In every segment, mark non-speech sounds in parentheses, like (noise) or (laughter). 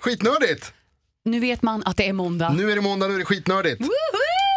Skitnördigt! Nu vet man att det är måndag. Nu är det måndag, nu är det skitnördigt.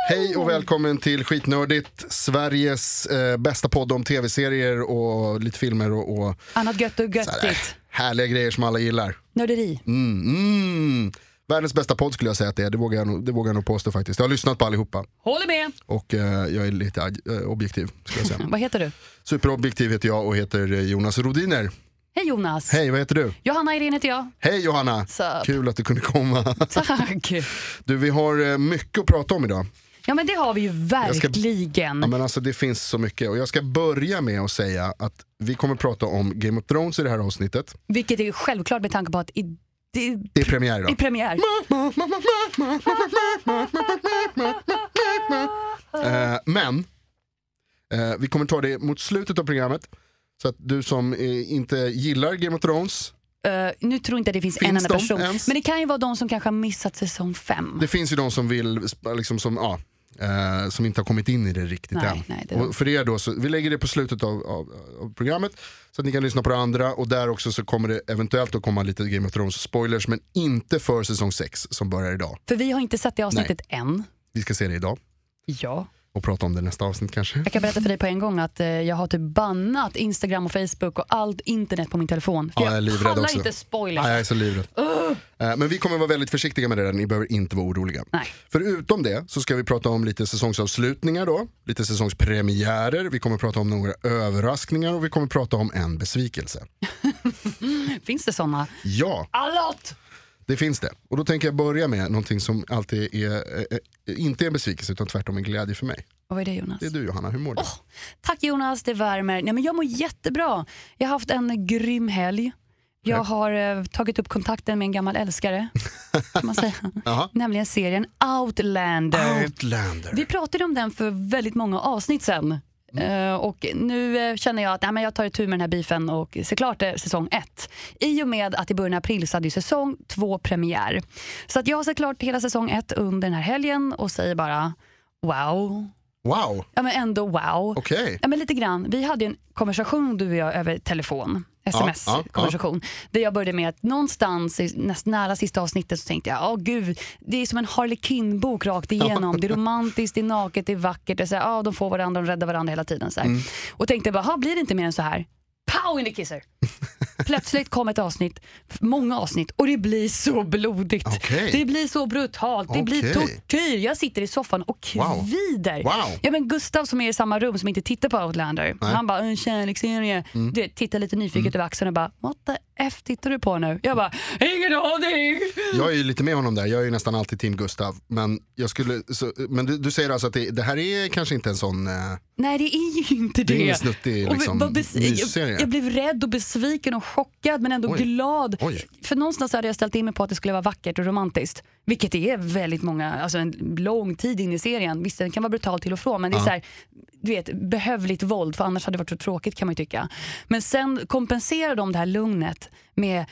Hej och välkommen till Skitnördigt, Sveriges eh, bästa podd om tv-serier och lite filmer och, och Annat gött och så här, äh, göttigt. härliga grejer som alla gillar. Nörderi. Mm, mm. Världens bästa podd skulle jag säga att det är, det vågar jag, nog- det vågar jag nog påstå faktiskt. Jag har lyssnat på allihopa Håller med. och eh, jag är lite ad- eh, objektiv. Skulle jag (laughs) säga. Vad heter du? Superobjektiv heter jag och heter eh, Jonas Rodiner. Hej Jonas. Hej, vad heter du? Johanna Irene heter jag. Hej Johanna! Sup. Kul att du kunde komma. Tack. Du, vi har eh, mycket att prata om idag. Ja men det har vi ju ska- verkligen. Ja, men alltså, det finns så mycket och jag ska börja med att säga att vi kommer prata om Game of Thrones i det här avsnittet. Vilket är ju självklart med tanke på att i, det, Det är premiär (laughs) det är idag. premiär. Eh, men eh, vi kommer ta det mot slutet av programmet. Så att du som eh, inte gillar Game of Thrones, Eh, nu tror inte jag det finns, en Finns enda de person. ens? Men det kan ju vara de som kanske har missat säsong fem. det finns ju de som vill, sp- liksom, som, ja, eh, som inte har kommit in i det riktigt Nej, än. nej, det- och för er då, så, vi lägger det på slutet av, av, av programmet så att ni kan lyssna på det andra och där också så kommer det eventuellt att komma lite Game of Thrones spoilers men inte för säsong 6 som börjar idag. För vi har inte sett det avsnittet än. Vi ska se det idag Ja. och prata om det i nästa avsnitt kanske. Jag kan berätta för dig på en gång att eh, jag har typ bannat Instagram och Facebook och allt internet på min telefon. För Ja, jag är livrädd pallar också. inte spoilers. Nej, jag är så livrädd. Eh, Men vi kommer vara väldigt försiktiga med det där, ni behöver inte vara oroliga. Nej. Förutom det så ska vi prata om lite säsongsavslutningar då, lite säsongspremiärer, vi kommer prata om några överraskningar och vi kommer prata om en besvikelse. Finns det såna? Ja, Allot! det finns det. Och då tänker jag börja med någonting som alltid är, eh, eh, inte är en besvikelse utan tvärtom en glädje för mig. Vad är det Jonas? Det är du Johanna, hur mår du? Tack Jonas, det värmer. Nej, men jag mår jättebra. Jag har haft en grym helg. Jag har eh, tagit upp kontakten med en gammal älskare, kan man säga. Jaha. Nämligen serien Outlander. Outlander. Vi pratade om den för väldigt många avsnitt sen. Eh, och nu eh, känner jag att nej, men jag tar itu med den här beefen och ser klart det, säsong ett. I och med att i början av april så hade ju säsong två premiär. Så att jag har sett klart hela säsong ett under den här helgen och säger bara wow. Wow, Ja men ändå wow. okej. Ja, men lite grann. Vi hade ju en konversation du och jag över telefon. ja, Sms-konversation. Där jag började med att någonstans i näst, nära sista avsnittet så tänkte jag, åh gud, det är som en Harley Quinn-bok rakt igenom. Det (laughs) är romantiskt, det är naket, det är vackert. Det är så här, ah, de får varandra, de räddar varandra hela tiden. Så här. Mm. Och tänkte bara, "Ha, blir det inte mer än så här? Pow in (laughs) the kisser! Plötsligt kom ett avsnitt, många avsnitt, och det blir så blodigt. Okej. Det blir så brutalt, det blir Okej. tortyr. Jag sitter i soffan och Wow. kvider. Wow. Ja, men Gustav som är i samma rum som inte tittar på Outlander, han bara en kärleksserie. Du vet, tittar lite nyfiket över axeln och bara what the F tittar du på nu? Jag bara ingen aning. Jag är ju lite med honom där, jag är ju nästan alltid team Gustav. Men, jag skulle, så, men du, du säger alltså att det, det här är kanske inte en sån... Eh, Nej det är ju inte det. Det är ingen snuttig, Och vi- liksom, vad bes- mysserie. jag, jag blev rädd och besviken och chockad men ändå Oj. glad. Oj. För någonstans hade jag ställt in mig på att det skulle vara vackert och romantiskt. Vilket det är väldigt många, alltså en lång tid in i serien. Visst den kan vara brutal till och från men det är så här, du vet, behövligt våld för annars hade det varit så tråkigt kan man ju tycka. Men sen kompenserar de det här lugnet med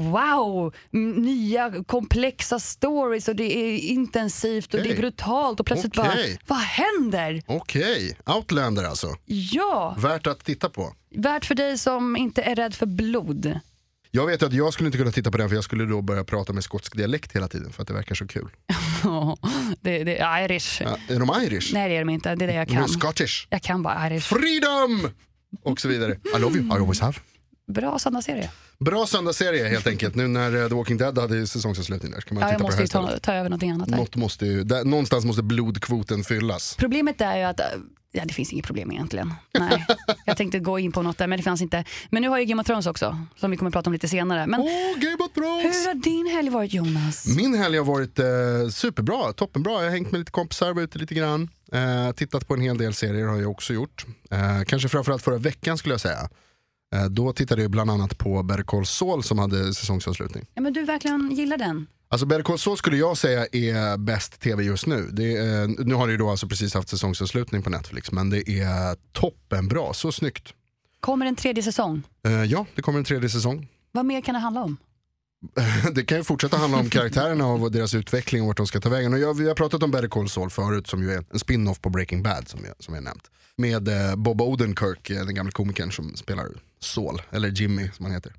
Wow! m- Nya komplexa stories och det är intensivt och det Okej. är brutalt och plötsligt Okej. bara, vad händer? Okej, Outlander alltså. Ja! Värt att titta på. Värt för dig som inte är rädd för (laughs) blod. Jag vet att jag skulle inte kunna titta på den för jag skulle då börja prata med skotsk dialekt hela tiden för att det verkar så kul. det, det är irish. Ja, är de irish? Nej det är de inte, det är det jag Är de kan. Scottish? Jag kan bara irish. Freedom! Och så vidare. I love you, I always have. Bra sådana serier. Bra söndagsserie helt enkelt. Nu när eh, The Walking Dead hade ju säsongsavslutning där. så Kan man Ja, jag titta på måste det här ju istället. ta, ta över någonting annat här. Något måste ju, där, någonstans måste blodkvoten fyllas. Problemet är ju att äh, Ja, det finns inget problem egentligen. (laughs) Nej, jag tänkte gå in på något där, men det fanns inte. Men nu har ju Game of Thrones också, som vi kommer att prata om lite senare. Men Åh, Game of hur Thrones! har din helg varit Jonas? Min helg har varit eh, superbra, toppenbra. Jag har hängt med lite kompisar, varit ute lite grann. Eh, tittat på en hel del serier har jag också gjort. Eh, kanske framförallt förra veckan skulle jag säga. Eh, då tittade jag bland annat på Better Call Saul som hade säsongsavslutning. Ja, men du verkligen gillar den. Alltså Better Call Saul skulle jag säga är bäst tv just nu. Det är, nu har det ju då alltså precis haft säsongsavslutning på Netflix men det är toppenbra, så snyggt. Kommer en tredje säsong? Eh, ja, det kommer en tredje säsong. Vad mer kan det handla om? (laughs) det kan ju fortsätta handla om karaktärerna och deras utveckling och vart de ska ta vägen. Och jag, vi har pratat om Better Call Saul förut som ju är en spin-off på Breaking Bad som jag, som jag nämnt. Med eh, Bob Odenkirk, eh, den gamla komikern som spelar Saul, eller Jimmy som han heter.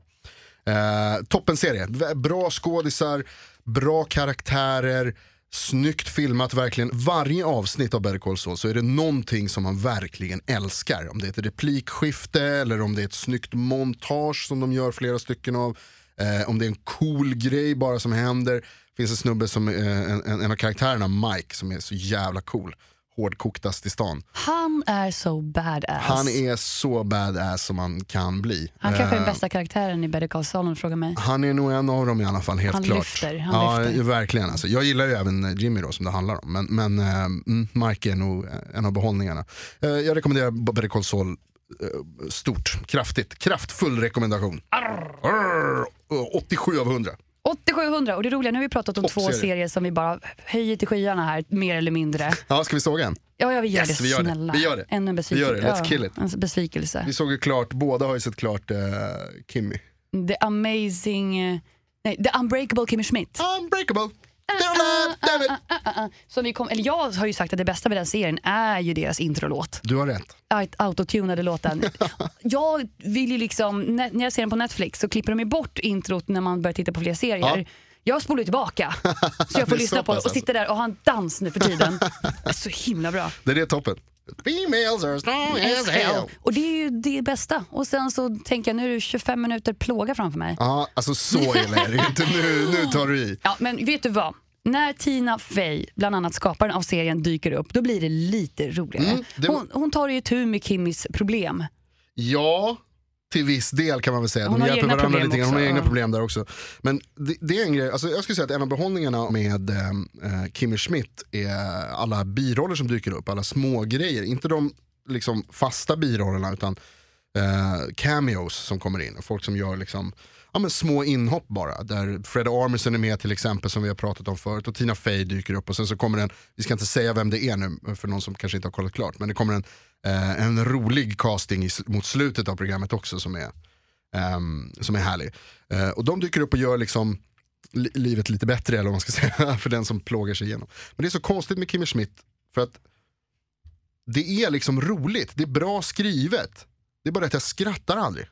Eh, toppenserie, V- bra skådisar, bra karaktärer, snyggt filmat verkligen. Varje avsnitt av Better Call Saul så är det någonting som man verkligen älskar. Om det är ett replikskifte eller om det är ett snyggt montage som de gör flera stycken av. Eh, om det är en cool grej bara som händer. finns en snubbe som, eh, en, en en av karaktärerna, Mike, som är så jävla cool. Hårdkoktast i stan. Han är så badass. Han är så badass som man kan bli. Alltså. Han kanske är Eh, den bästa karaktären i Better Call Saul om du frågar mig. Han är nog en av dem i alla fall, helt Han klart. lyfter, han ja, lyfter. verkligen. Alltså. Jag gillar ju även eh, Jimmy då, som det handlar om. Men, men eh, mm, Mike är nog eh, en av behållningarna. Eh, jag rekommenderar B- Better Call Saul eh, stort, kraftigt, kraftfull rekommendation. Arr! 87 av 100. 8700 och det roliga, nu har vi pratat om två Toppserie. serier som vi bara höjer till skyarna här, mer eller mindre. Ja, ska vi såga en? Ja, jag vill göra Yes, det vi gör det. snälla. Vi gör det. Ännu en Vi besvikelse. gör det. Let's kill it. Ja, en besvikelse. Vi såg ju klart, båda har ju sett klart eh, Kimmy. The amazing... eh, Nej, The unbreakable Kimmy Schmidt. Unbreakable! Damn it, damn it. Som vi kom, eller jag har ju sagt att det bästa med den serien är ju deras introlåt. Du har rätt. Aut- Autotunade (laughs) låten. jag vill ju liksom, när när jag ser den på Netflix så klipper de ju bort introt när man börjar titta på fler serier. Ja. Jag spolar (laughs) ju tillbaka så jag Det får är lyssna så på pass det alltså. och sitta där och ha en dans nu (laughs) för tiden. Det är så himla bra. Det är det toppen. Females are strong as hell. Och det är ju det bästa. Och sen så tänker jag nu är det 25 minuter plåga framför mig. Ja, alltså så illa är det ju inte. Nu, nu tar du i. Ja, men vet du vad? När Tina Fey, bland annat skaparen av serien, dyker upp, då blir det lite roligare. Mm, det- hon, hon tar ju tur med Kimmys problem. Ja, till viss del kan man väl säga. Hon De har hjälper egna varandra problem lite grann. Hon har också, egna ja. problem där också. Men det, det är en grej, alltså jag skulle säga att en av behållningarna med eh, eh, Kimmy Schmidt är alla biroller som dyker upp, alla små grejer. Inte de liksom, fasta birollerna utan eh, cameos som kommer in. Folk som gör liksom, ja, men små inhopp bara. Där Fred Armisen är med till exempel som vi har pratat om förut och Tina Fey dyker upp och sen så kommer en, vi ska inte säga vem det är nu för någon som kanske inte har kollat klart, men det kommer en, eh, en rolig casting i, sl- mot slutet av programmet också som är, ehm, som är härlig. Eh, och de dyker upp och gör liksom li- livet lite bättre eller vad man ska (laughs) säga för den som plågar sig igenom. Men det är så konstigt med Kimmy Schmidt för att det är liksom roligt, det är bra skrivet. Det är bara att jag skrattar aldrig.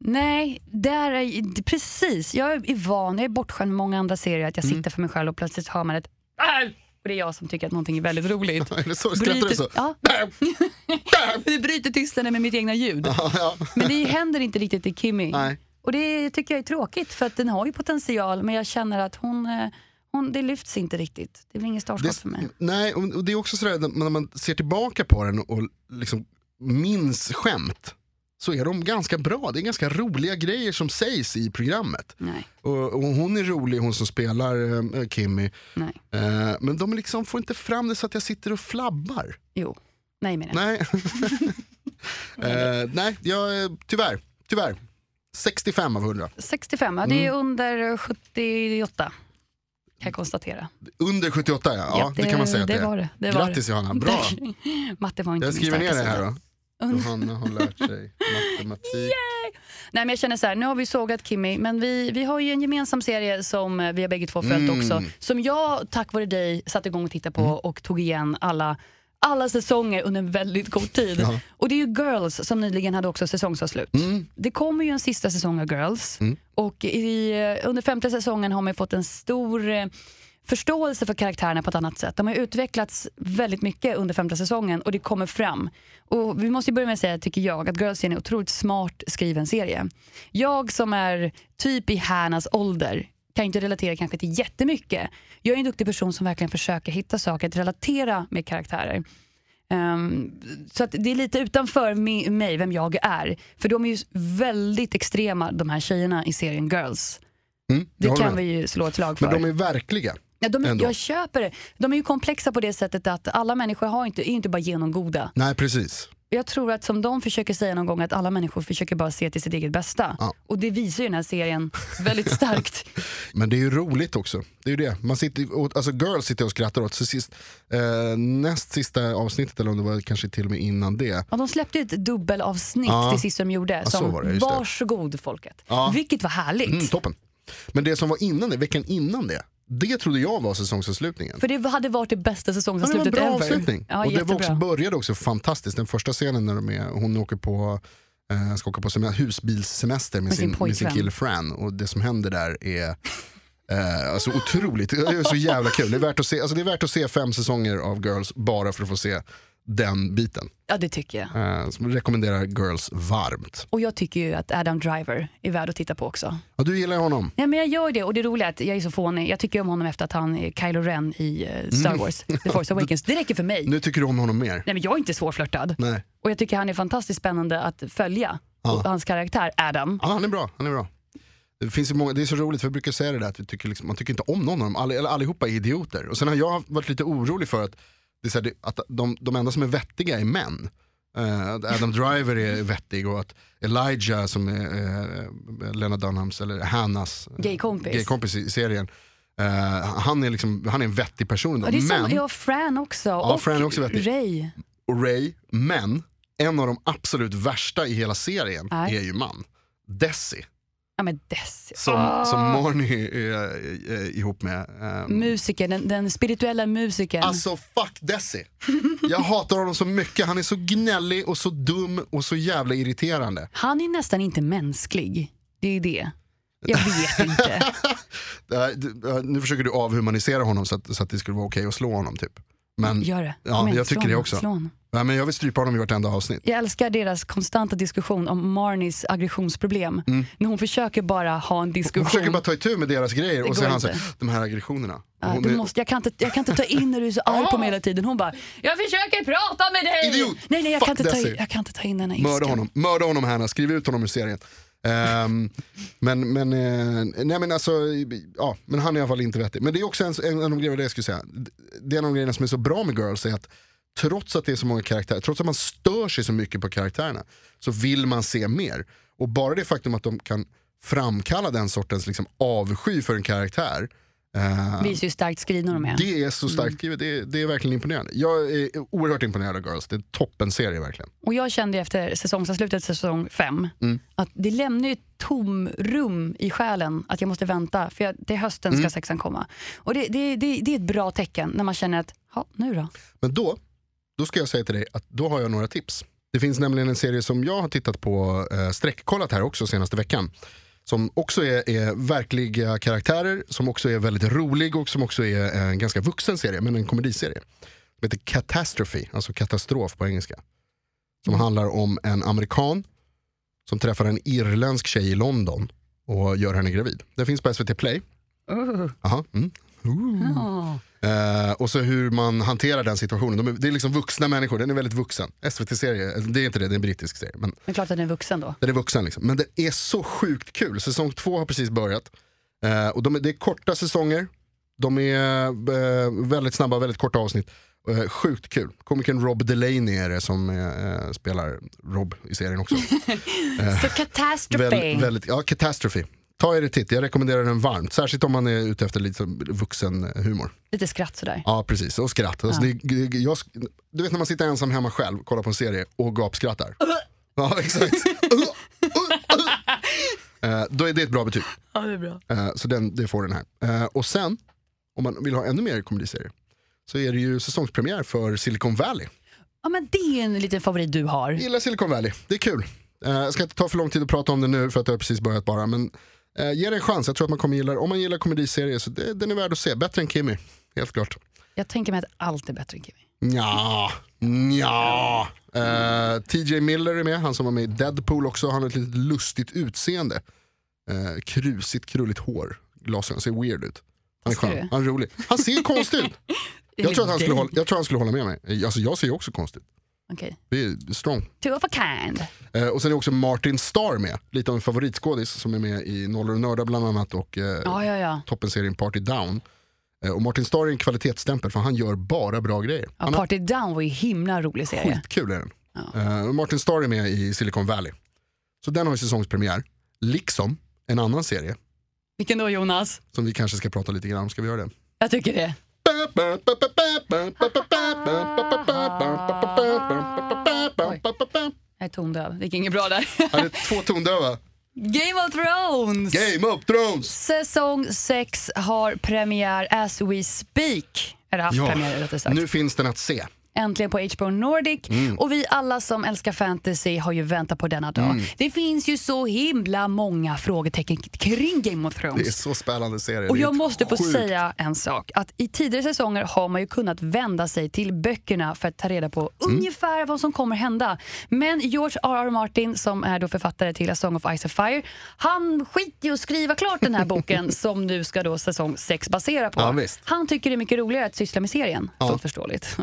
(laughs) Nej, där är, ju- det- precis. Jag är van, jag är bortskämd med många andra serier att jag sitter för mig själv och plötsligt hör man ett "Arr!" och det är jag som tycker att någonting är väldigt (laughs) roligt. Eller så skrattar du så. (laughs) ja, (laughs) det bryter tystnaden med mitt egna ljud. Ja, ja. Men det händer inte riktigt i Kimmy. Nej. Och det tycker jag är tråkigt för att den har ju potential men jag känner att hon, eh, hon det lyfts inte riktigt. Det blir ingen startskott för mig. Nej, och och det är också sådär när- när man ser tillbaka på den och liksom minns skämt så är de ganska bra. Det är ganska roliga grejer som sägs i programmet. Nej, Och, och hon är rolig, hon som spelar eh, Kimmy. nej, Eh, men de liksom får inte fram det så att jag sitter och flabbar. jo. Nej menar jag. (laughs) Nej, (laughs) eh, nej jag, eh, tyvärr. tyvärr. 65 av 100. 65, ja, det är Mm. under 78 kan jag konstatera. Under 78 ja, ja det, kan man säga att det, det är. var det. det var Grattis Johanna, det. bra. (laughs) Matte var inte Jag min skriver ner starka det här sida. då. Johanna har lärt sig matematik. Nej, men jag känner så här, nu har vi sågat Kimmy, men vi, vi har ju en gemensam serie som eh, vi har bägge två följt Mm. också. Som jag tack vare dig satte igång och tittade på och tog igen alla, alla säsonger under en väldigt kort tid. Ja. Mm. Och det är ju Girls som nyligen hade också säsongsavslut. Det kommer ju en sista säsong av Girls och i, eh, under femte säsongen har man ju fått en stor eh, förståelse för karaktärerna på ett annat sätt. De har ju utvecklats väldigt mycket under femte säsongen och det kommer fram. Och vi måste ju börja med att säga, tycker jag, att Girls är en otroligt smart skriven serie. Jag som är typ i Hannas ålder kan ju inte relatera kanske till jättemycket. Jag är en duktig person som verkligen försöker hitta saker att relatera med karaktärer. Ehm, så att det är lite utanför mi- mig, vem jag är. För de är ju väldigt extrema, de här tjejerna i serien Girls. Mm, Det jag håller kan vi med. ju slå ett slag för. Men de är verkliga. ja, de är ändå. jag köper det. De är ju komplexa på det sättet att alla människor har inte, är ju inte bara genomgoda. Nej precis. Jag tror att som de försöker säga någon gång att alla människor försöker bara se till sitt eget bästa. Ja. Och det visar ju den här serien (laughs) väldigt starkt. Men det är ju roligt också. Det är ju det. Man sitter, och, alltså girls sitter och skrattar åt. Så sist, eh, näst sista avsnittet eller om det var kanske till och med innan det. Ja, de släppte ju ett dubbelavsnitt Ja. till sist som de gjorde. så som var det, just det. varsågod folket. Ja. Vilket var härligt. Mm, toppen. Men det som var innan det, veckan innan det. Det trodde jag var säsongsavslutningen. För det hade varit det bästa Men det var en säsongsavslutet bra ever. avslutning. Ja, och det var jättebra. också, började också fantastiskt. Den första scenen när de är, hon åker på Eh, ska åka på semester, husbilssemester med, Med sin sin, med sin pojkvän. kille Fran. Och det som händer där är eh, alltså otroligt, det är så jävla kul. Det är, värt att se, alltså det är värt att se fem säsonger av Girls bara för att få se den biten. Ja, det tycker jag. Eh, som rekommenderar Girls varmt. Och jag tycker ju att Adam Driver är värd att titta på också. Ja, du gillar ju honom. Nej, men jag gör det och det roliga är att jag är så fånig. Jag tycker om honom efter att han är Kylo Ren i eh, Star Wars, The (laughs) Force Awakens. Det räcker för mig. Mm. Nu tycker du om honom mer. Nej, men jag är inte svårflörtad. Nej. Och jag tycker han är fantastiskt spännande att följa. Och hans karaktär Adam. Ja, han är bra. Han är bra. Det, finns ju många, det är så roligt för jag brukar säga det där att vi tycker liksom, man tycker inte om någon av dem, all, eller allihopa är idioter. Och sen har jag varit lite orolig för att, det är så här, det, att de, de enda som är vettiga är män. Eh, att Adam Driver är vettig och att Elijah som är eh, Lena Dunhams, eller Hannas eh, Gaykompis. gaykompis i serien, eh, han, är liksom, han är en vettig person. Ändå. Ja, det är men, samma, ja, Fran också. och Fran är också vettig. Ray. och Ray, men en av de absolut värsta i hela serien Nej. är ju man. Desi. Ja, men dess. som, Ah. Mm. som Marnie är, eh, eh, ihop med. ehm, Musiker, den, den spirituella musikern. alltså fuck Desi. Jag hatar honom så mycket. Han är så gnällig och så dum och så jävla irriterande. Han är nästan inte mänsklig. Det är det. Jag (laughs) vet inte. Det här- det- eh, nu försöker du avhumanisera honom så att, så att det skulle vara okej att slå honom typ. Men, Gör det. Ja, Kom igen, jag tycker slå det honom, också. slå honom. ja, men jag vill strypa honom i vartenda avsnitt. Jag älskar deras konstanta diskussion om Marnies aggressionsproblem. När hon försöker bara ha en Jag diskussion. Mm. försöker bara ta itu med deras grejer och så går är han så inte. här, de här aggressionerna. Ja, Hon du är- måste, jag, kan inte, jag kan inte ta in när du är så arg på mig hela tiden. Hon bara, jag försöker prata med dig! Idiot! Nej, nej, jag, Fuck kan inte, ta, Desi. in- jag kan inte ta in den här Mörda ilskan. honom, mörda honom Hanna, skriv ut honom ur serien. Ehm, men, men, eh, nej men alltså, ja, men han är i alla fall inte vettig. Men det är också en, en, en av de grejerna jag skulle säga. Det är en av de grejerna som är så bra med Girls är att trots att det är så många karaktärer, trots att man stör sig så mycket på karaktärerna så vill man se mer. Och bara det faktum att de kan framkalla den sortens liksom, avsky för en karaktär eh, Visar ju starkt skrivna de är. det är så starkt skrivet, det, är- det är verkligen imponerande. Jag är oerhört imponerad av Girls, det är en toppenserie verkligen. Och jag kände ju efter säsongsavslutet, säsong fem, Mm. att det lämnar ju ett tomrum i själen att jag måste vänta, för jag, det är hösten Mm. ska sexan komma. Och det, det, det, det är ett bra tecken när man känner att, ja, nu då? Men då, då ska jag säga till dig att då har jag några tips. Det finns nämligen en serie som jag har tittat på, eh, sträckkollat här också senaste veckan. Som också är, är verkliga karaktärer, som också är väldigt rolig och som också är en ganska vuxen serie, men en komediserie. Som heter Catastrophe, alltså katastrof på engelska. Som handlar om en amerikan som träffar en irländsk tjej i London och gör henne gravid. Det finns på SVT Play. Aha, mm. Ja. Eh, och så hur man hanterar den situationen. De är, det är liksom vuxna människor, den är väldigt vuxen. SVT-serie, eller eh, det är inte det, det är en brittisk serie. Men Men klart att den är vuxen då. den är vuxen liksom. Men den är så sjukt kul. Säsong två har precis börjat. Eh, och de, är- det är korta säsonger. De är eh, väldigt snabba, väldigt korta avsnitt. Eh, sjukt kul. Komikern Rob Delaney är det som eh, spelar Rob i serien också. Så Catastrophe. Väl, väldigt, ja, Catastrophe. Ta er en titt, jag rekommenderar den varmt. Särskilt om man är ute efter lite vuxen eh, humor. Lite skratt sådär. Ja precis, och skratt. Alltså, det, det, jag, du vet när man sitter ensam hemma själv, kollar på en serie och gapskrattar. Ja exakt. Uh, Eh, Då är det ett bra betyg. Ja, det är bra. Eh, Så den, det får den här. Eh, Och sen, om man vill ha ännu mer komediserier, så är det ju säsongspremiär för Silicon Valley. Ja, men det är en liten favorit du har. Jag gillar Silicon Valley, det är kul. Eh, Jag ska inte ta för lång tid att prata om det nu för att det har precis börjat bara. Men eh, ge det en chans, jag tror att man kommer gilla det. Om man gillar komediserier så det, den är värd att se. Bättre än Kimmy, helt klart. Jag tänker mig att allt är bättre än Kimmy. Ja, ja. Eh, TJ Miller är med, han som var med i Deadpool också. Han har ett litet lustigt utseende. Eh, krusigt, krulligt hår. Glasögon, ser weird ut. Han är Ser skön, du? han är rolig. Han ser konstig (laughs) ut. Jag tror, att han skulle hålla, jag tror han skulle hålla med mig. Alltså jag ser ju också konstigt ut. Okej. Vi är strong. Two of a kind. Eh, och sen är också Martin Starr med, lite av en favoritskådis som är med i Nollor och Nördar bland annat och eh, Ja, ja, ja. toppenserien Party Down. Eh, och Martin Starr är en kvalitetsstämpel för han gör bara bra grejer. ja Party Down var ju himla rolig serie. Skitkul är den. Ja. Eh, Martin Starr är med i Silicon Valley. Så den har ju säsongspremiär. Liksom en annan serie Vilken då Jonas? som vi kanske ska prata lite grann om. Ska vi göra det? Jag tycker det. Jag är tondöv. Det gick inget bra där. (laughs) Här är två tondöva. Game of Thrones! Game of Thrones! Säsong 6 har premiär as we speak. Eller haft Ja, premiär rättare sagt. nu finns den att se. äntligen på HBO Nordic. Mm. Och vi alla som älskar fantasy har ju väntat på denna Mm. dag. Det finns ju så himla många frågetecken kring Game of Thrones. Det är så spännande serie. Och Det är jag måste få sjukt. (laughs) säga en sak. Att I tidigare säsonger har man ju kunnat vända sig till böckerna för att ta reda på Mm. ungefär vad som kommer hända. Men George R.R. Martin, som är då författare till A Song of Ice and Fire, han skiter i att skriva klart den (laughs) här boken som nu ska då säsong 6 basera på. Ja, visst. Han tycker det är mycket roligare att syssla med serien. Fullt förståeligt.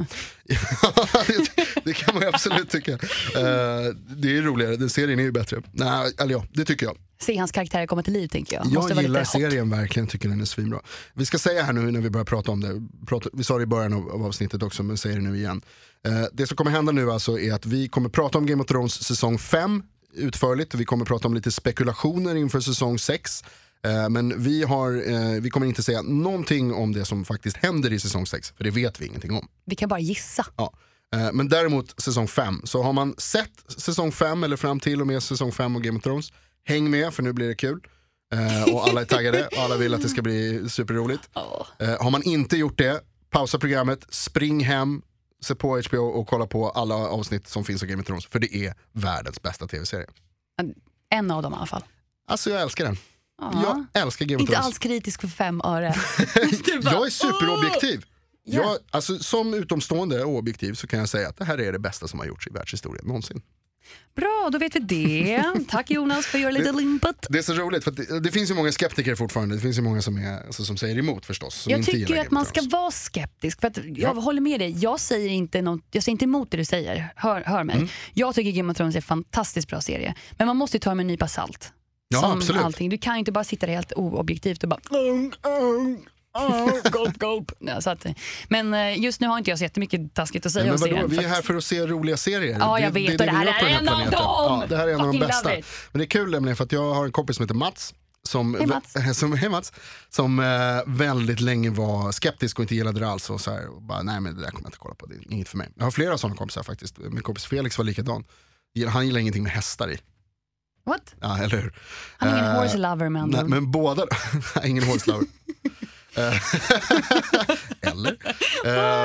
det, det kan man ju absolut tycka. Eh, det är ju roligare, den serien är ju bättre. Nej, eller ja, det tycker jag. Se hans karaktärer komma till liv, tänker jag. Jag vara gillar lite hot. serien verkligen, tycker den är svinbra. Vi ska säga här nu när vi börjar prata om det, prata, vi sa det i början av, av avsnittet också men säger det nu igen. Eh, det som kommer hända nu alltså är att vi kommer prata om Game of Thrones säsong 5 utförligt, vi kommer prata om lite spekulationer inför säsong 6. Men vi, har, eh, vi kommer inte säga någonting om det som faktiskt händer i säsong 6, för det vet vi ingenting om. Vi kan bara gissa. Ja. Eh, Men däremot säsong 5. Så har man sett säsong 5 eller fram till och med säsong 5 av Game of Thrones, häng med för nu blir det kul. Eh, Och alla är taggade och alla vill att det ska bli superroligt. Åh. Eh, Har man inte gjort det, pausa programmet, spring hem, se på HBO och kolla på alla avsnitt som finns av Game of Thrones. För det är världens bästa tv-serie. En av dem i alla fall. Alltså jag älskar den. Ja. Jag älskar Game of Inte Thrones. alls kritisk för fem öre. Du bara, (laughs) Jag är superobjektiv. Ja. Jag, alltså, som utomstående och objektiv så kan jag säga att det här är det bästa som har gjorts i världshistorien någonsin. Bra, då vet vi det. Tack Jonas för your little input. Det är så roligt, för att det, det finns ju många skeptiker fortfarande. Det finns ju många som, är, alltså, som säger emot förstås. Som Jag inte tycker gillar ju att Game man of ska Thrones. vara skeptisk. För att jag Ja. håller med dig, jag säger inte, något, jag säger inte emot det du säger. Hör, hör mig. Mm. Jag tycker Game of Thrones är en fantastiskt bra serie. Men man måste ju ta det med en nypa salt. Ja, Som absolut. Allting. Du kan ju inte bara sitta där helt oobjektivt och bara "Mm, mm, mm, gulp, gulp. (laughs) Ja, så att, men eh, just nu har inte jag så jättemycket taskigt att säga Men om vadå, serien. vi för är att- här för att se roliga serier. Ja, jag vet, det, och det, det vi här gör på är den en av planeten. dem. Ja, det här är en av de Fucking love bästa. it. Men det är kul nämligen för att jag har en kompis som heter Mats. Som, Hej, Mats. (laughs) som, hej Mats, som eh, väldigt länge var skeptisk och inte gillade det alls. Och så här, och bara, nej men det där kommer jag inte kolla på, det är inget för mig. Jag har flera sådana kompisar faktiskt. Min kompis Felix var likadan. Han gillar ingenting med hästar i. What? Ja, eller hur? Han är ingen Eh, horse lover med andra Nej, ord. men båda, (laughs) Nej, ingen hårslaver. Eh, (laughs) Eller?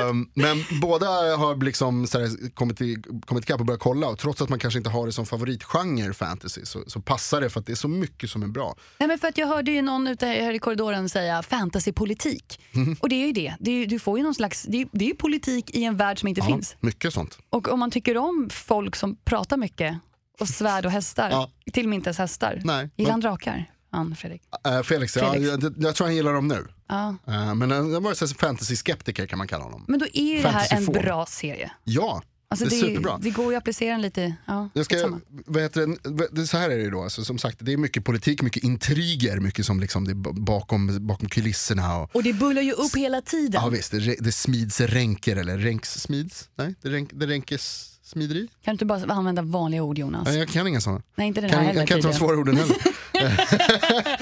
Ehm, men båda har liksom så här, kommit, i, kommit ikapp och börjat kolla och trots att man kanske inte har det som favoritgenre fantasy så, så passar det för att det är så mycket som är bra. Nej, men för att jag hörde ju någon ute här i korridoren säga fantasypolitik. Mm. Och det är ju det. det är, ju- du får ju någon slags, det, är, det är ju politik i en värld som inte Ja, finns. mycket sånt. Och om man tycker om folk som pratar mycket och svärd och hästar, Ja. till och med inte ens hästar. Nej, Gillar han drakar? Ann Fredrik. Eh, Felix, Felix. Ja, jag, jag tror han gillar dem nu. Ja. Eh, men han var så här fantasy-skeptiker kan man kalla honom. Men då är ju det här en Fantasyform. bra serie. Ja, Alltså det är det, superbra. det går ju att applicera den lite. Ja, Jag ska, skitsamma. vad heter det, det, så här är det ju då, alltså, som sagt det är mycket politik, mycket intriger, mycket som liksom det är b- bakom, bakom kulisserna. Och, Och det bullar ju upp hela tiden. ja visst, det, re- det smids ränker eller ränks smids? Nej, det, ränk, det ränkes smideri? Kan du inte bara använda vanliga ord Jonas? Nej, jag kan inga sådana. Nej, inte den här Kan, heller jag kan inte de tydligen. svåra orden (laughs) heller.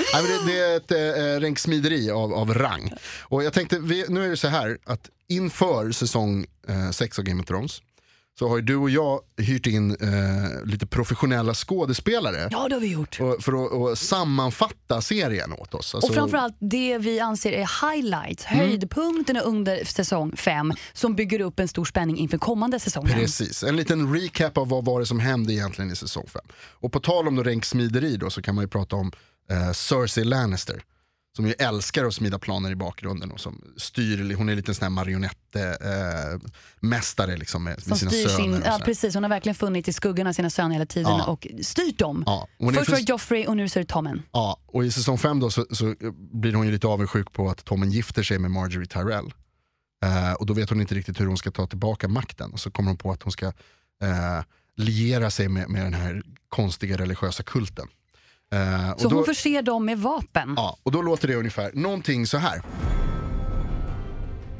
(laughs) Nej, men det, det är ett äh, ränksmideri av, av rang. Och jag tänkte, vi, nu är det så här att inför säsong 6 av Game of Thrones så har ju du och jag hyrt in eh, lite professionella skådespelare Ja, det har vi gjort. och, för att och sammanfatta serien åt oss. Alltså, Och framförallt det vi anser är highlights, Mm. höjdpunkterna under säsong 5 som bygger upp en stor spänning inför kommande säsongen. Precis, en liten recap av vad var det som hände egentligen i säsong 5. Och på tal om då ränksmideri då så kan man ju prata om eh, Cersei Lannister. Som ju älskar att smida planer i bakgrunden och som styr, hon är en liten sån här marionettmästare eh, mästare liksom med, Som med sina styr söner. sin, och ja, sådär. precis, hon har verkligen funnit i skuggorna sina söner hela tiden Ja. och styrt dem. Ja, hon är Först för- var det Joffrey och nu är det Tommen. Ja, och i säsong 5 då så, så blir hon ju lite avundsjuk på att Tommen gifter sig med Marjorie Tyrell. Eh, och då vet hon inte riktigt hur hon ska ta tillbaka makten. Och så kommer hon på att hon ska eh, liera sig med, med den här konstiga religiösa kulten. Eh, och Så då, hon förser dem med vapen. ja, och då låter det ungefär någonting så här.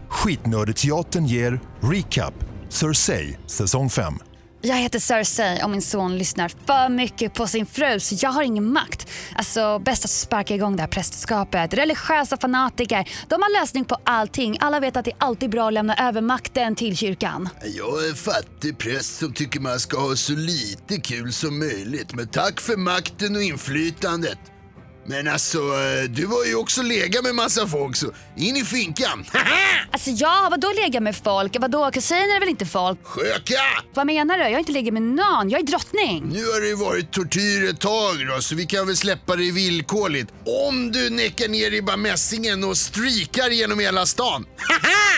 Skitnördeteatern ger Recap Cersei säsong 5. Jag heter Cersei och min son lyssnar för mycket på sin fru så jag har ingen makt. Alltså bäst att sparka igång det här prästerskapet. Religiösa fanatiker, de har lösning på allting. Alla vet att det är alltid bra att lämna över makten till kyrkan. Jag är en fattig präst som tycker man ska ha så lite kul som möjligt. Men tack för makten och inflytandet. Men alltså, eh, du har ju också legat med massa folk så in i finkan. (laughs) Alltså ja, vadå lägga med folk? Vadå, kusiner är väl inte folk? Sköka! Vad menar du? Jag har inte legat med någon, jag är drottning. Nu har det ju varit tortyr ett tag då, så vi kan väl släppa dig villkorligt. Om du näckar ner i bara mässingen och strikar genom hela stan.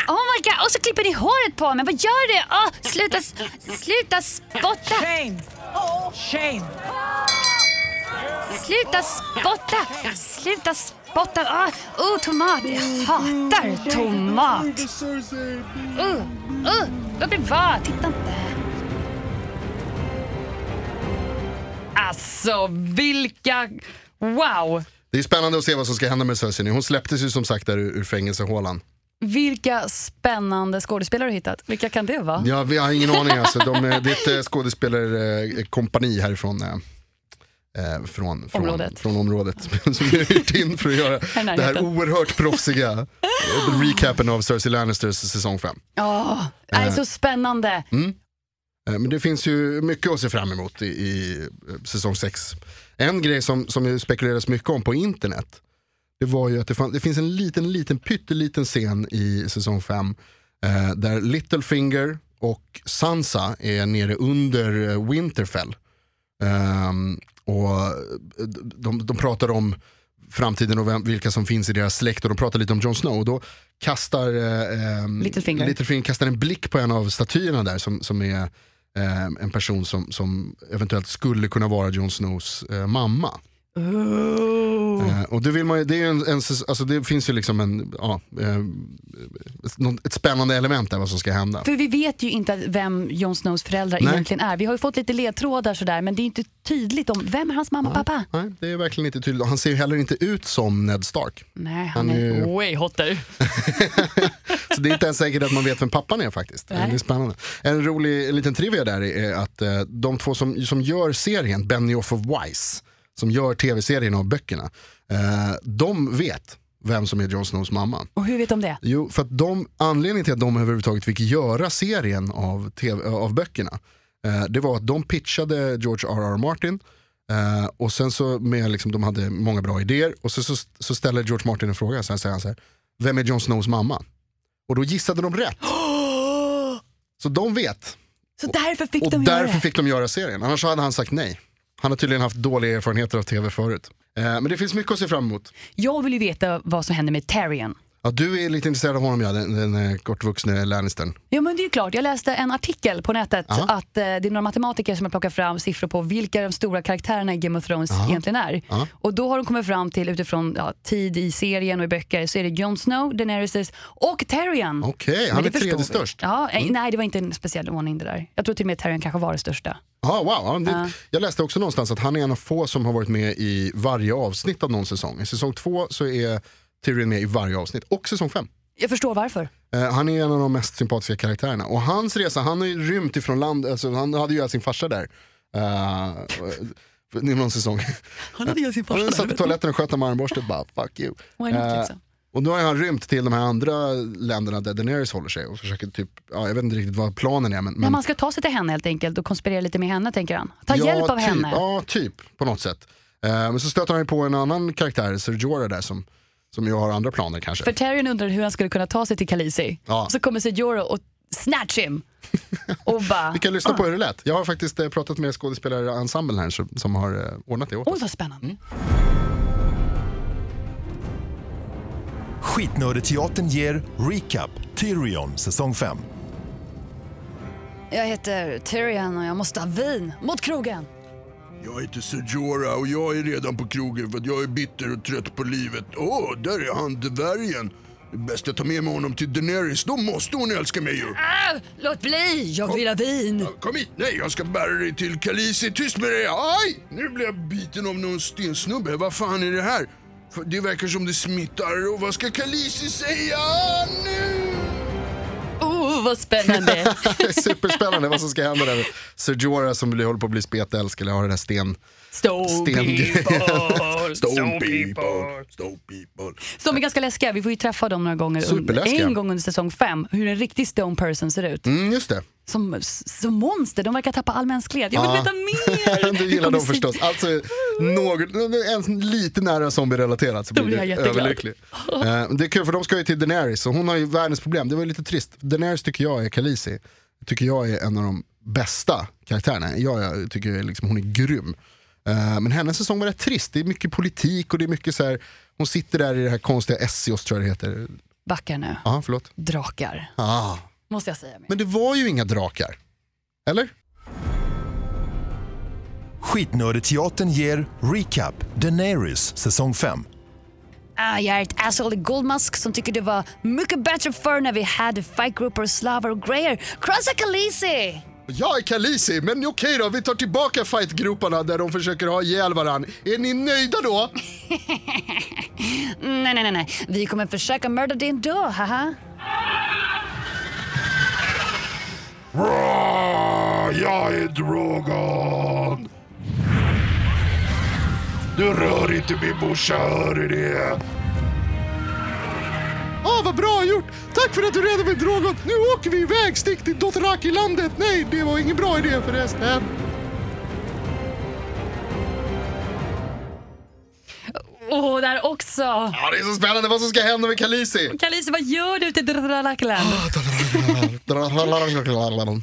Oh my god, och så klipper ni håret på mig, vad gör du? Åh, sluta, s- sluta spotta, Shame! Shame! sluta spotta, sluta spotta. Åh, oh, tomat, jag hatar tomat. Uh, uh, låt mig vara, titta inte. Alltså vilka... Wow! Det är spännande att se vad som ska hända med Cersei nu. Hon släpptes ju som sagt där ur, ur fängelsehålan. Vilka spännande skådespelare du hittat. Vilka kan det vara? Ja, vi har ingen aning alltså. De, (laughs) är- det är ett eh, skådespelarkompani härifrån. eh, eh, Från, från, Området. från området som vi har hyrt in för att göra närheten. det här oerhört (laughs) proffsiga eh, recapen av Cersei Lannisters säsong 5. Ja, det är så spännande. Eh, Men det finns ju mycket att se fram emot i, i eh, säsong 6. En grej som, som det spekuleras mycket om på internet, det var ju att det, fann, det finns en liten, liten, pytteliten scen i säsong 5 eh, där Littlefinger och Sansa är nere under eh, Winterfell. Ehm, och de- de, de pratar om framtiden och vem, vilka som finns i deras släkt och de pratar lite om Jon Snow. Och då kastar eh, ehm, Littlefinger. Littlefinger kastar en blick på en av statyerna där som, som är ehm, en person som, som eventuellt skulle kunna vara Jon Snows eh, mamma. Eh, och det, vill man ju, det, är ju en, en, säs- alltså det finns ju liksom en, ja, eh, ett- något- ett spännande element där vad som ska hända. För vi vet ju inte vem Jon Snows föräldrar Nej. egentligen är. Vi har ju fått lite ledtrådar sådär men det är inte tydligt om vem är hans mamma och pappa. Nej, det är verkligen inte tydligt. Och Han ser ju heller inte ut som Ned Stark. Nej, han, Han är är ju- way hotter. (laughs) Så det är inte ens säkert att man vet vem pappan är faktiskt. Nej. Det är spännande. En rolig en liten trivia där är att eh, de två som, som gör serien, Benioff och Weiss, som gör tv-serien och böckerna, eh, de vet vem som är Jon Snows mamma. Och hur vet de det? Jo, för att de, anledningen till att de överhuvudtaget fick göra serien av, TV, av böckerna, eh, det var att de pitchade George R.R. Martin, eh, och sen så med, liksom, de hade många bra idéer, och så, så, så ställer George Martin en fråga, så här säger han så här, vem är Jon Snows mamma? Och då gissade de rätt. Så de vet, Så därför fick och de göra därför det. fick de göra serien, annars hade han sagt nej. Han har tydligen haft dåliga erfarenheter av tv förut. Eh, men det finns mycket att se fram emot. Jag vill ju veta vad som händer med Tyrion. Ja, du är lite intresserad av honom, ja, den, den eh, kortvuxne Lannistern. Ja men det är ju klart, jag läste en artikel på nätet Aha. att eh, det är några matematiker som har plockat fram siffror på vilka de stora karaktärerna i Game of Thrones egentligen är. Aha. Och då har de kommit fram till utifrån ja, tid i serien och i böcker så är det Jon Snow, Daenerys och Tyrion. Okej, Men han det är tredje förstår vi. störst. Mm. Ja, eh, Nej det var inte en speciell ordning det där. Jag tror till och med Tyrion kanske var det största. Ja, wow. Ja, det, Jag läste också någonstans att han är en av få som har varit med i varje avsnitt av någon säsong. I säsong två så är Tyrion med i varje avsnitt och säsong fem. Jag förstår varför. Eh, han är en av de mest sympatiska karaktärerna. Och hans resa, han har ju rymt ifrån land, alltså, han hade ju ihjäl sin farsa där. Uh, (laughs) I någon (laughs) säsong. Han hade ju sin Han satt i toaletten och sköt med armborstet bara fuck you. Why not, Eh, liksom? Och nu har han rymt till de här andra länderna där Daenerys håller sig och försöker typ, ja, jag vet inte riktigt vad planen är men, Men men man ska ta sig till henne helt enkelt och konspirera lite med henne tänker han. Ta hjälp av typ, henne. Ja, typ på något sätt. Eh, Men så stöter han ju på en annan karaktär, Sir Jorah där som, som ju har andra planer kanske. För Tyrion undrar hur han skulle kunna ta sig till Khaleesi. Ja. Och så kommer Sir Jorah och (laughs) snatch him. Och bara, Vi kan lyssna Ah. på hur det lät. Jag har faktiskt eh, pratat med skådespelareensemblen här som, som har eh, ordnat det åt (laughs) oj oss. vad spännande. Mm. Skitnördeteatern ger Recap Tyrion säsong 5. Jag heter Tyrion och jag måste ha vin mot krogen. Jag heter Sir Jorah och jag är redan på krogen för att jag är bitter och trött på livet. Åh, där är han, dvärgen. Det är bäst att ta med mig honom till Daenerys, då måste hon älska mig ju. Ah, Låt bli, jag vill ha vin. Kom hit! Nej, jag ska bära dig till Kalisi. Tyst med dig! Aj! Nu blev jag biten av någon stensnubbe. Vad fan är det här? För det verkar som det smittar. Och vad ska Kalisi säga nu? Oh (laughs) vad spännande. Det är superspännande vad som ska hända där. Sir Jorah som blir- håller på att bli spetälsk eller har det där sten, Stone Stengrejer. people, Stone people, stone people. Som är ganska läskiga. Vi får ju träffa dem några gånger. un- Superläskiga. En gång under säsong fem, hur en riktig stone person ser ut. Mm, just det. Som, som monster, de verkar tappa all mänsklighet. Jag vill Ja. veta mer! Ah. (laughs) du Vi gillar kommer dem se- förstås. Alltså, något, ens lite nära zombie-relaterat så Då blir blir du jag jätteglad. överlycklig. Eh, det är kul för de ska ju till Daenerys och hon har ju världens problem. Det var ju lite trist. Daenerys tycker jag är Khaleesi. Tycker jag är en av de bästa karaktärerna. Jag, jag tycker liksom hon är grym. Eh, men hennes säsong var rätt trist. Det är mycket politik och det är mycket så här. Hon sitter där i det här konstiga Essios tror jag det heter. Backar nu. Ja, förlåt. Drakar, Ah. måste jag säga. mer. Men det var ju inga drakar. Eller? Skitnördeteatern ger Recap Daenerys säsong 5. Ah, jag är ett asshole i Goldmask som tycker det var mycket bättre förr när vi hade fight grupper, slavar och grejer. Crossa Khaleesi! Jag är Khaleesi, men okej då, vi tar tillbaka fightgroparna där de försöker ha ihjäl varann. Är ni nöjda då? Mm, Nej, nej, nej, nej. Vi kommer försöka mörda dig ändå, haha. Bra, jag är Drogon. Du rör inte min morsa, hör du det? Ah, vad bra gjort! Tack för att du räddade mig Drogon! Nu åker vi iväg, stick till Dothraki-landet! Nej, det var ingen bra idé förresten. Åh, där också! Ja, det är så spännande vad som ska hända med Khaleesi. (laughs) Kalise, vad gör du ute i Drakland?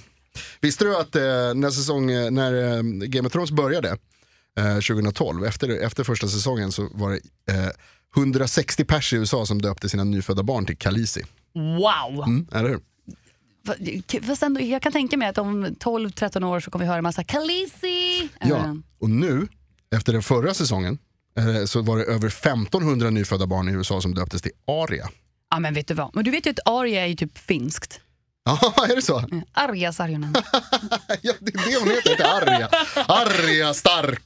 Visste du att eh, när, säsong, eh, när eh, Game of Thrones började eh, 2012, efter, efter första säsongen så var det eh, 160 pers i USA som döpte sina nyfödda barn till Khaleesi. Wow! Mm, eller hur? Fa- Fast ändå, jag kan tänka mig att om 12-13 år så kommer vi höra en massa Eh, Kalisi. Ja, och nu, efter den förra säsongen, eh, så var det över 1500 nyfödda barn i USA som döptes till aria. (laughs) ja, men vet du vad? Men du vet ju att aria är ju typ finskt. Ja, är det så? Arja Sarjonen. (laughs) Ja, det är det hon heter, inte aria. Aria stark,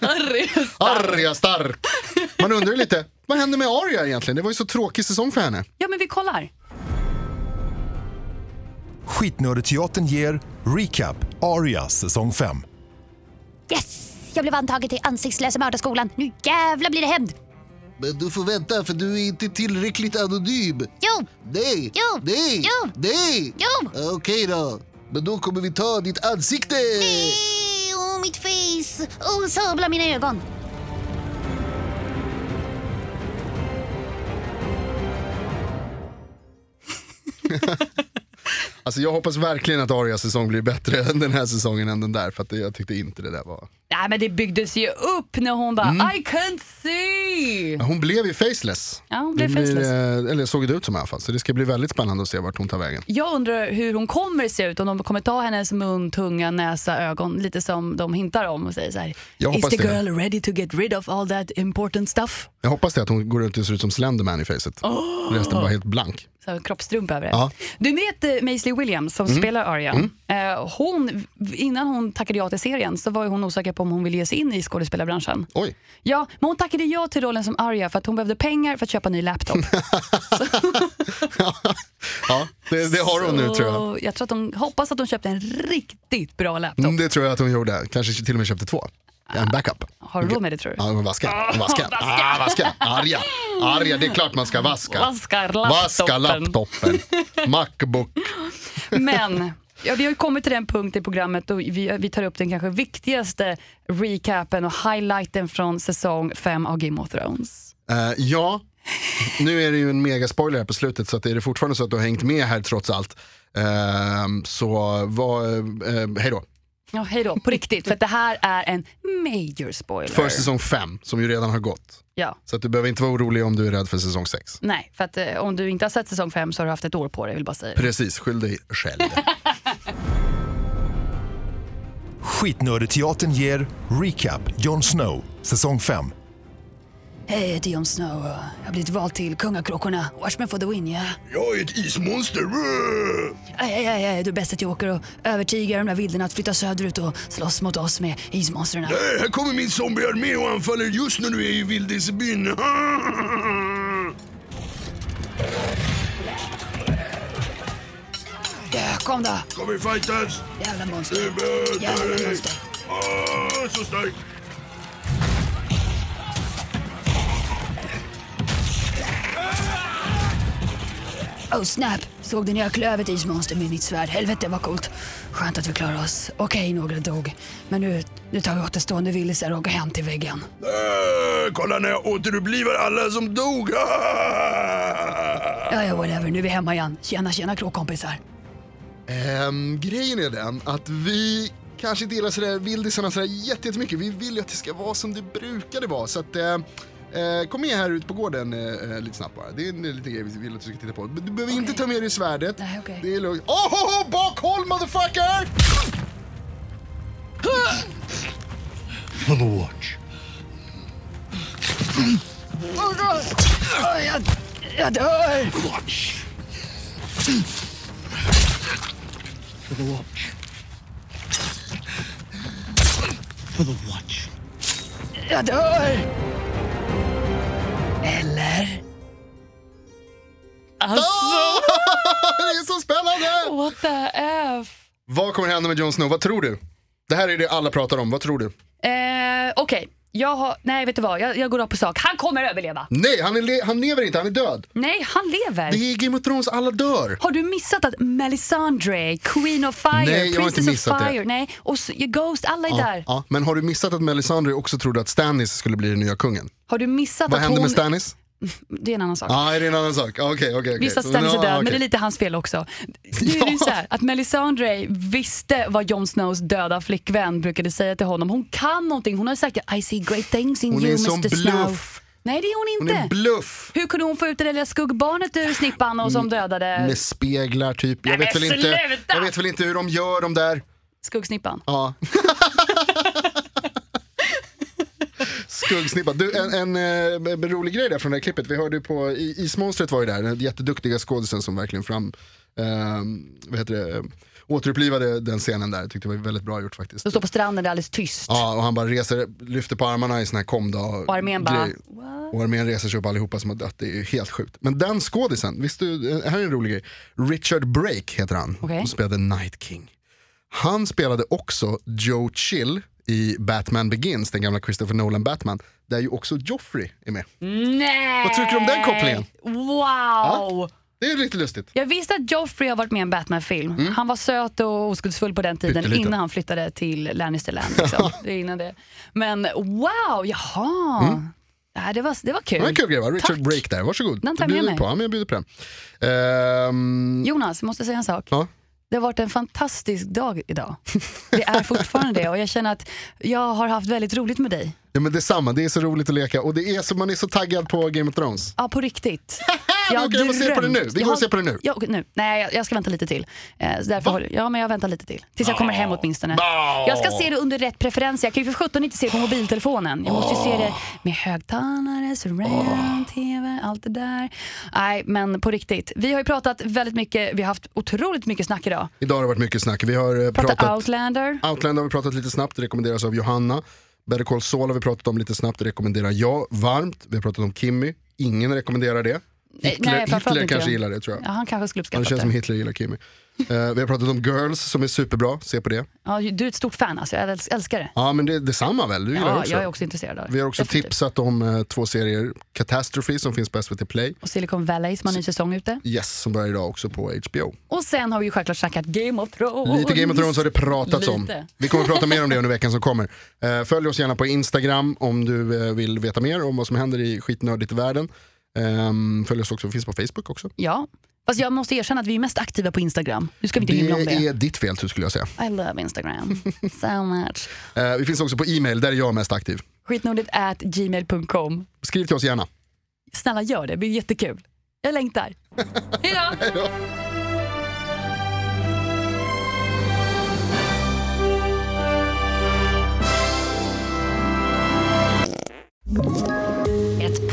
Arja. aria stark. Man undrar ju lite, vad hände med aria egentligen? Det var ju så tråkig säsong för henne. Ja, men vi kollar. Skitnördeteatern ger Recap Arya säsong 5. Yes! Jag blev antagen till ansiktslösa mördarskolan. Nu jävla blir det hämnd! Men Eh, du får vänta för du är inte tillräckligt anonym. Jo! Nej! Jo. Nej! Jo. Nej! Jo. Ja, Okej då. Men då kommer vi ta ditt ansikte! Åh, mitt face! Åh, oh, sabla mina ögon! Alltså jag hoppas verkligen att Arias säsong blir bättre (laughs) än den här säsongen än den där, för att jag tyckte inte det där var... Nej, men det byggdes ju upp när hon bara Mm. I can't see. Ja, Hon blev ju faceless. Ja, hon blev Det blir, faceless. eh, Eller såg det ut som i alla fall, så det ska bli väldigt spännande att se vart hon tar vägen. Jag undrar hur hon kommer se ut, om de kommer ta hennes mun, tunga, näsa, ögon, lite som de hintar om och säger så här. Jag Is hoppas the det. girl ready to get rid of all that important stuff? Jag hoppas det att hon går runt och ser ut som Slenderman i facet. Resten bara helt blank. så här, kroppstrump över det. Ja. Mm. Du vet eh, Maisley Williams som spelar Arya. Eh, hon, innan hon tackade ja till serien så var ju hon osäker på om hon ville ge sig in i skådespelarbranschen. Oj, (laughs) Ja, men hon tackade ja till rollen som Arya för att hon behövde pengar för att köpa en ny laptop. ja, det, det (laughs) har hon nu tror jag. Så jag tror att hon hoppas att hon köpte en riktigt bra laptop. Mm, Det tror jag att hon gjorde. Kanske till och med köpte två. Ja, En backup. Ah, Har du råd med det tror du? Ja, hon vaskar. Hon vaskar. Ah, vaskar. Arga. Arga, det är klart man ska vaska. Vaskar Vaska laptopen. (laughs) laptopen. Macbook. Mm. (laughs) Men ja, vi har ju kommit till den punkt i programmet då vi, vi tar upp den kanske viktigaste recapen och highlighten från säsong 5 av Game of Thrones. Eh, ja, nu är det ju en mega-spoiler här på slutet så att är det fortfarande så att du har hängt med här trots allt ehm, så var, eh, hej då. Ja, hej då, på riktigt. För att det här är en major spoiler. För säsong 5 som ju redan har gått. Ja. Så att du behöver inte vara orolig om du är rädd för säsong 6. Nej, för att eh, om du inte har sett säsong 5 så har du haft ett år på dig, vill bara säga. det. Precis, skyll dig själv. Skitnördeteatern ger Recap Jon Snow säsong 5. Hej, jag heter Jon Snow. Jag har blivit vald till Kungakråkorna. Watchmen for the win, ja. Jag är ett ismonster. Äh, Brr. Aj, aj, aj, aj, du är bäst att jag åker och övertygar de där vilderna att flytta söderut och slåss mot oss med ismonstren. Här, här kommer min zombiearmé och anfaller just när du är i vildisbyn. (laughs) Ja, kom då, Kommer vi fightas? Äh, jävla monster. Du möter Jävla dig. monster. Ah, så stark. Oh snap! Såg du när jag klöv ett ismonster med mitt svärd? Helvete vad coolt! Skönt att vi klarade oss. Okej, några dog. Men nu, nu tar vi återstående villisar och går hem till väggen. Äh, kolla när jag återupplivar alla som dog! (laughs) Ja, ja, whatever. Nu är vi hemma igen. Tjena, tjena kråkkompisar. Ehm, grejen är den att vi kanske inte gillar sådär vildisarna sådär jätte- jättemycket. Vi vill ju att det ska vara som det brukade vara. Så att, eh, eh, kom med här ut på gården eh, eh, lite snabbt bara. Det är en liten grej vi vill att du ska titta på. Men Du behöver inte ta med dig svärdet. Nej, okej. Det är lugnt. Oh, ho, ho, bakhåll motherfucker! (laughs) Åh, jag, jag dör! Jag dör! Eller? Ah! (laughs) det är så spännande! What the F? Vad kommer hända med Jon Snow? Vad tror du? Det här är det alla pratar om. Vad tror du? Eh, Okej, jag har... Nej, vet du vad? Jag, jag går rakt på sak. Han kommer överleva. Nej, han, är le- han lever inte. Han är död. Nej, han lever. Det är Game of Thrones. Alla dör. Har du missat att Melisandre, Queen of Fire, Nej, jag har inte Princess missat of det. Fire, nej, och så- Ghost, alla är där. Ja, men har du missat att Melisandre också trodde att Stannis skulle bli den nya kungen? Har du missat Vad att hände hon... med Stannis? Det är en annan sak. Ja, ah, är det en annan sak? Okej, okej. okej. Visst att Stannis är Ja, död, men okej. det är lite hans fel också. Nu är (laughs) det ju så här, att Melisandre visste vad Jon Snows döda flickvän brukade säga till honom. Hon kan någonting, hon har sagt I see great things in Hon är you en sån Mr Snow. bluff. Nej det är Hon hon är inte. en bluff. Hur kunde hon få ut det där lilla skuggbarnet ur snippan och Mm. som dödade Med speglar typ. Jag Nej, vet, väl men inte, sluta! jag vet väl inte hur de gör de där. skuggsnippan? Ja. Skuggsnippa. Du, en, en, eh, en rolig grej där från det här klippet. Vi hörde ju på, i- Ismonstret var ju där, den jätteduktiga skådisen som verkligen fram, eh, vad heter det, eh, återupplivade den scenen där. Jag tyckte det var väldigt bra gjort faktiskt. De står på stranden, det är alldeles tyst. Ja, och han bara reser, lyfter på armarna i sån här kom då Och armén bara, grej. Och armén reser sig upp allihopa som har dött, det är ju helt sjukt. Men den skådisen, visst du, här är en rolig grej. Richard Brake heter han, Okej. och spelade Night King. Han spelade också Joe Chill i Batman Begins, den gamla Christopher Nolan Batman, där ju också Joffrey är med. Nej! Vad tycker du om den kopplingen? Wow! Ah, Det är lite lustigt. Jag visste att Joffrey har varit med i en Batman-film. Mm. Han var söt och oskuldsfull på den tiden Pytteliten. innan han flyttade till (laughs) Lannisterland. Liksom. det är innan det. Men wow, jaha. Ja, det, var, det var kul. Mm. Det var en kul grej va? Richard Tack. Brake där, varsågod. Den tar Du jag med bjuder mig. på, ja, men jag bjuder på den. Ehm, Jonas, jag måste säga en sak. ja. Det har varit en fantastisk dag (laughs) idag. Det är fortfarande det och jag känner att jag har haft väldigt roligt med dig. ja men detsamma, det är så roligt att leka och det är så, man är så taggad på Game of Thrones. Ja, på riktigt. Men (laughs) okej, jag måste se på det drömt. nu. Vi Jag går och har- ser på det nu. Ja, okej, nu. Nej, jag, jag ska vänta lite till. Eh, så därför håller, ja, men jag väntar lite till. Tills jag kommer hem åtminstone. Jag ska se det under rätt preferens. Jag kan ju för sjutton inte se på mobiltelefonen. Jag måste ju se det med högtalare, surround, tv, allt det där. Nej, men på riktigt. Vi har ju pratat väldigt mycket. Vi har haft otroligt mycket snack idag. Idag har det varit mycket snack. Vi har eh, Pratat, pratat Outlander. Outland har vi pratat lite snabbt, det rekommenderas av Johanna. Better Call Saul har vi pratat om lite snabbt, det rekommenderar jag varmt. Vi har pratat om Kimmy, ingen rekommenderar det. nej, Hitler, framförallt Hitler inte kanske jag. gillar det tror jag. Ja, han kanske skulle det uppskatta känns det. som Hitler gillar Kimmy. Eh, vi har pratat om Girls som är superbra, se på det. Ja, du är ett stort fan alltså. Jag äls- älskar det. Ja men det är detsamma väl, du gillar det Ja, också. jag är också intresserad av det. Vi har också Definitivt. tipsat om eh, två serier, Catastrophe som finns på SVT Play. Och Silicon Valley som har ny säsong ute. Yes, som börjar idag också på HBO. Och sen har vi ju självklart snackat Game of Thrones. Lite Game of Thrones har det pratats om. Lite. Vi kommer att prata mer (laughs) om det under veckan som kommer. Eh, Följ oss gärna på Instagram om du eh, vill veta mer om vad som händer i skitnördigt i världen. Ehm, Följ oss också, vi finns på Facebook också. Ja. Fast jag måste erkänna att vi är mest aktiva på Instagram. Nu ska vi inte Det hymla om det. är ditt fel skulle jag säga. I love Instagram so much. Eh, Vi finns också på e-mail, där är jag mest aktiv. Skitnordigt at gmail.com. Skriv till oss gärna. Snälla gör det, det blir jättekul. Jag längtar. Hejdå! Ett